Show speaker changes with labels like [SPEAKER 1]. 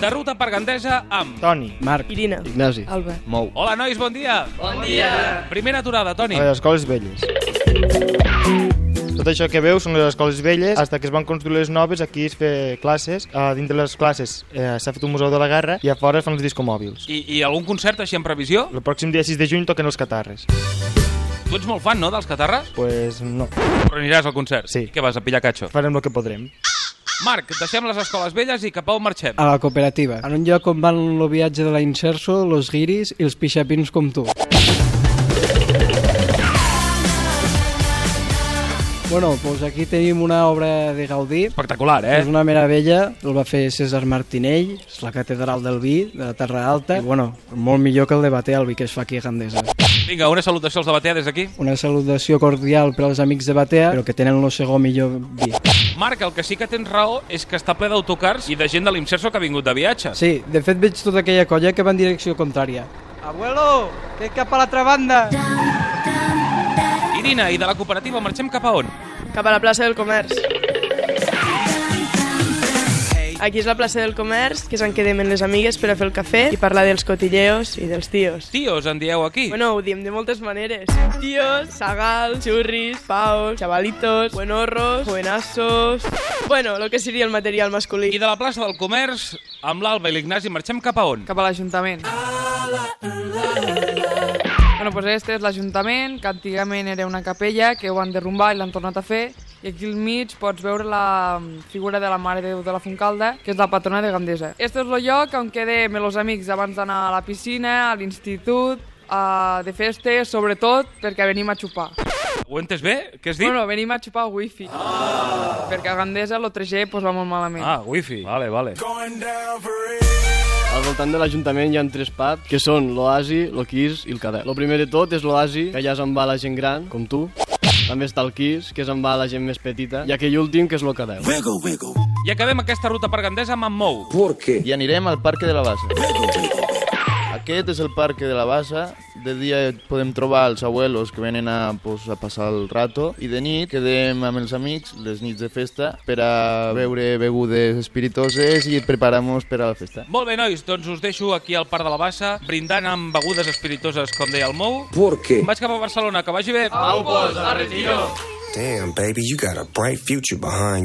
[SPEAKER 1] de Ruta per Gandesa amb...
[SPEAKER 2] Toni.
[SPEAKER 3] Marc.
[SPEAKER 4] Irina.
[SPEAKER 2] Ignasi.
[SPEAKER 4] Alba.
[SPEAKER 2] Mou.
[SPEAKER 1] Hola, nois, bon dia! Bon dia! Primera aturada, Toni.
[SPEAKER 2] A les escoles velles. Tot això que veus són les escoles velles, hasta que es van construir les noves, aquí es fer classes, a dintre de les classes eh, s'ha fet un museu de la guerra i a fora es fan els discomòbils.
[SPEAKER 1] I, I algun concert així en previsió?
[SPEAKER 2] El pròxim dia 6 de juny toquen els catarres.
[SPEAKER 1] Tu ets molt fan, no, dels catarres?
[SPEAKER 2] Pues no,
[SPEAKER 1] Però aniràs al concert.
[SPEAKER 2] Sí.
[SPEAKER 1] Què vas, a pillar catxo?
[SPEAKER 2] farem el que podrem.
[SPEAKER 1] Marc, deixem les escoles velles i cap a on marxem?
[SPEAKER 3] A la cooperativa. En un lloc on van el viatge de la Inserso, los guiris i els pixapins com tu. Bueno, doncs aquí tenim una obra de Gaudí
[SPEAKER 1] Espectacular, eh?
[SPEAKER 3] És una meravella, el va fer César Martinell, és la catedral del vi, de la Terra Alta, i bueno, molt millor que el de Batea, el vi que es fa aquí a Gandesa.
[SPEAKER 1] Vinga, una salutació als de Batea des d'aquí.
[SPEAKER 3] Una salutació cordial per als amics de Batea, però que tenen el segon millor vi.
[SPEAKER 1] Marc, el que sí que tens raó és que està ple d'autocars i de gent de l'Imserso que ha vingut de viatge.
[SPEAKER 3] Sí, de fet veig tota aquella colla que va en direcció contrària. Abuelo, que cap a l'altra banda!
[SPEAKER 1] Irina, i de la cooperativa marxem cap a on?
[SPEAKER 4] Cap a la plaça del Comerç. Aquí és la plaça del Comerç, que és on quedem amb les amigues per a fer el cafè i parlar dels cotilleos i dels tios.
[SPEAKER 1] Tios, en dieu aquí.
[SPEAKER 4] Bueno, ho diem de moltes maneres. Tios, sagals, xurris, paos, chavalitos, buenorros, buenassos... Bueno, lo que seria el material masculí.
[SPEAKER 1] I de la plaça del Comerç, amb l'Alba i l'Ignasi, marxem cap a on?
[SPEAKER 5] cap a l'Ajuntament. Bueno, pues este és l'Ajuntament, que antigament era una capella, que ho han derrumbat i l'han tornat a fer, i aquí al mig pots veure la mm, figura de la Mare de Déu de la Foncalda, que és la patrona de Gandesa. Este és el lloc on quedem amb els amics abans d'anar a la piscina, a l'institut, a de festes, sobretot perquè venim a xupar.
[SPEAKER 1] Ho he entès bé? Què has dit?
[SPEAKER 5] Bueno, venim a xupar al wifi, ah. perquè a Gandesa el 3G pues, va molt malament.
[SPEAKER 1] Ah, wifi. Vale, vale.
[SPEAKER 6] Al voltant de l'Ajuntament hi ha tres pubs, que són l'Oasi, l'Oquís i el Cadet. El primer de tot és l'Oasi, que allà se'n va la gent gran, com tu. També està el Quís, que se'n va la gent més petita. I aquell últim, que és l'Ocadeu.
[SPEAKER 1] I acabem aquesta ruta per Gandesa amb en Mou.
[SPEAKER 7] I anirem al Parc de la Bassa. Aquest és el Parc de la Bassa. De dia podem trobar els abuelos que venen a, pues, a passar el rato i de nit quedem amb els amics les nits de festa per a beure begudes espiritoses i preparamos per a la festa.
[SPEAKER 1] Molt bé, nois, doncs us deixo aquí al Parc de la Bassa, brindant amb begudes espiritoses, com deia el Mou.
[SPEAKER 8] ¿Por qué?
[SPEAKER 1] Vaig cap a Barcelona, que vagi bé. Au,
[SPEAKER 8] Damn, baby, you got a bright future behind you.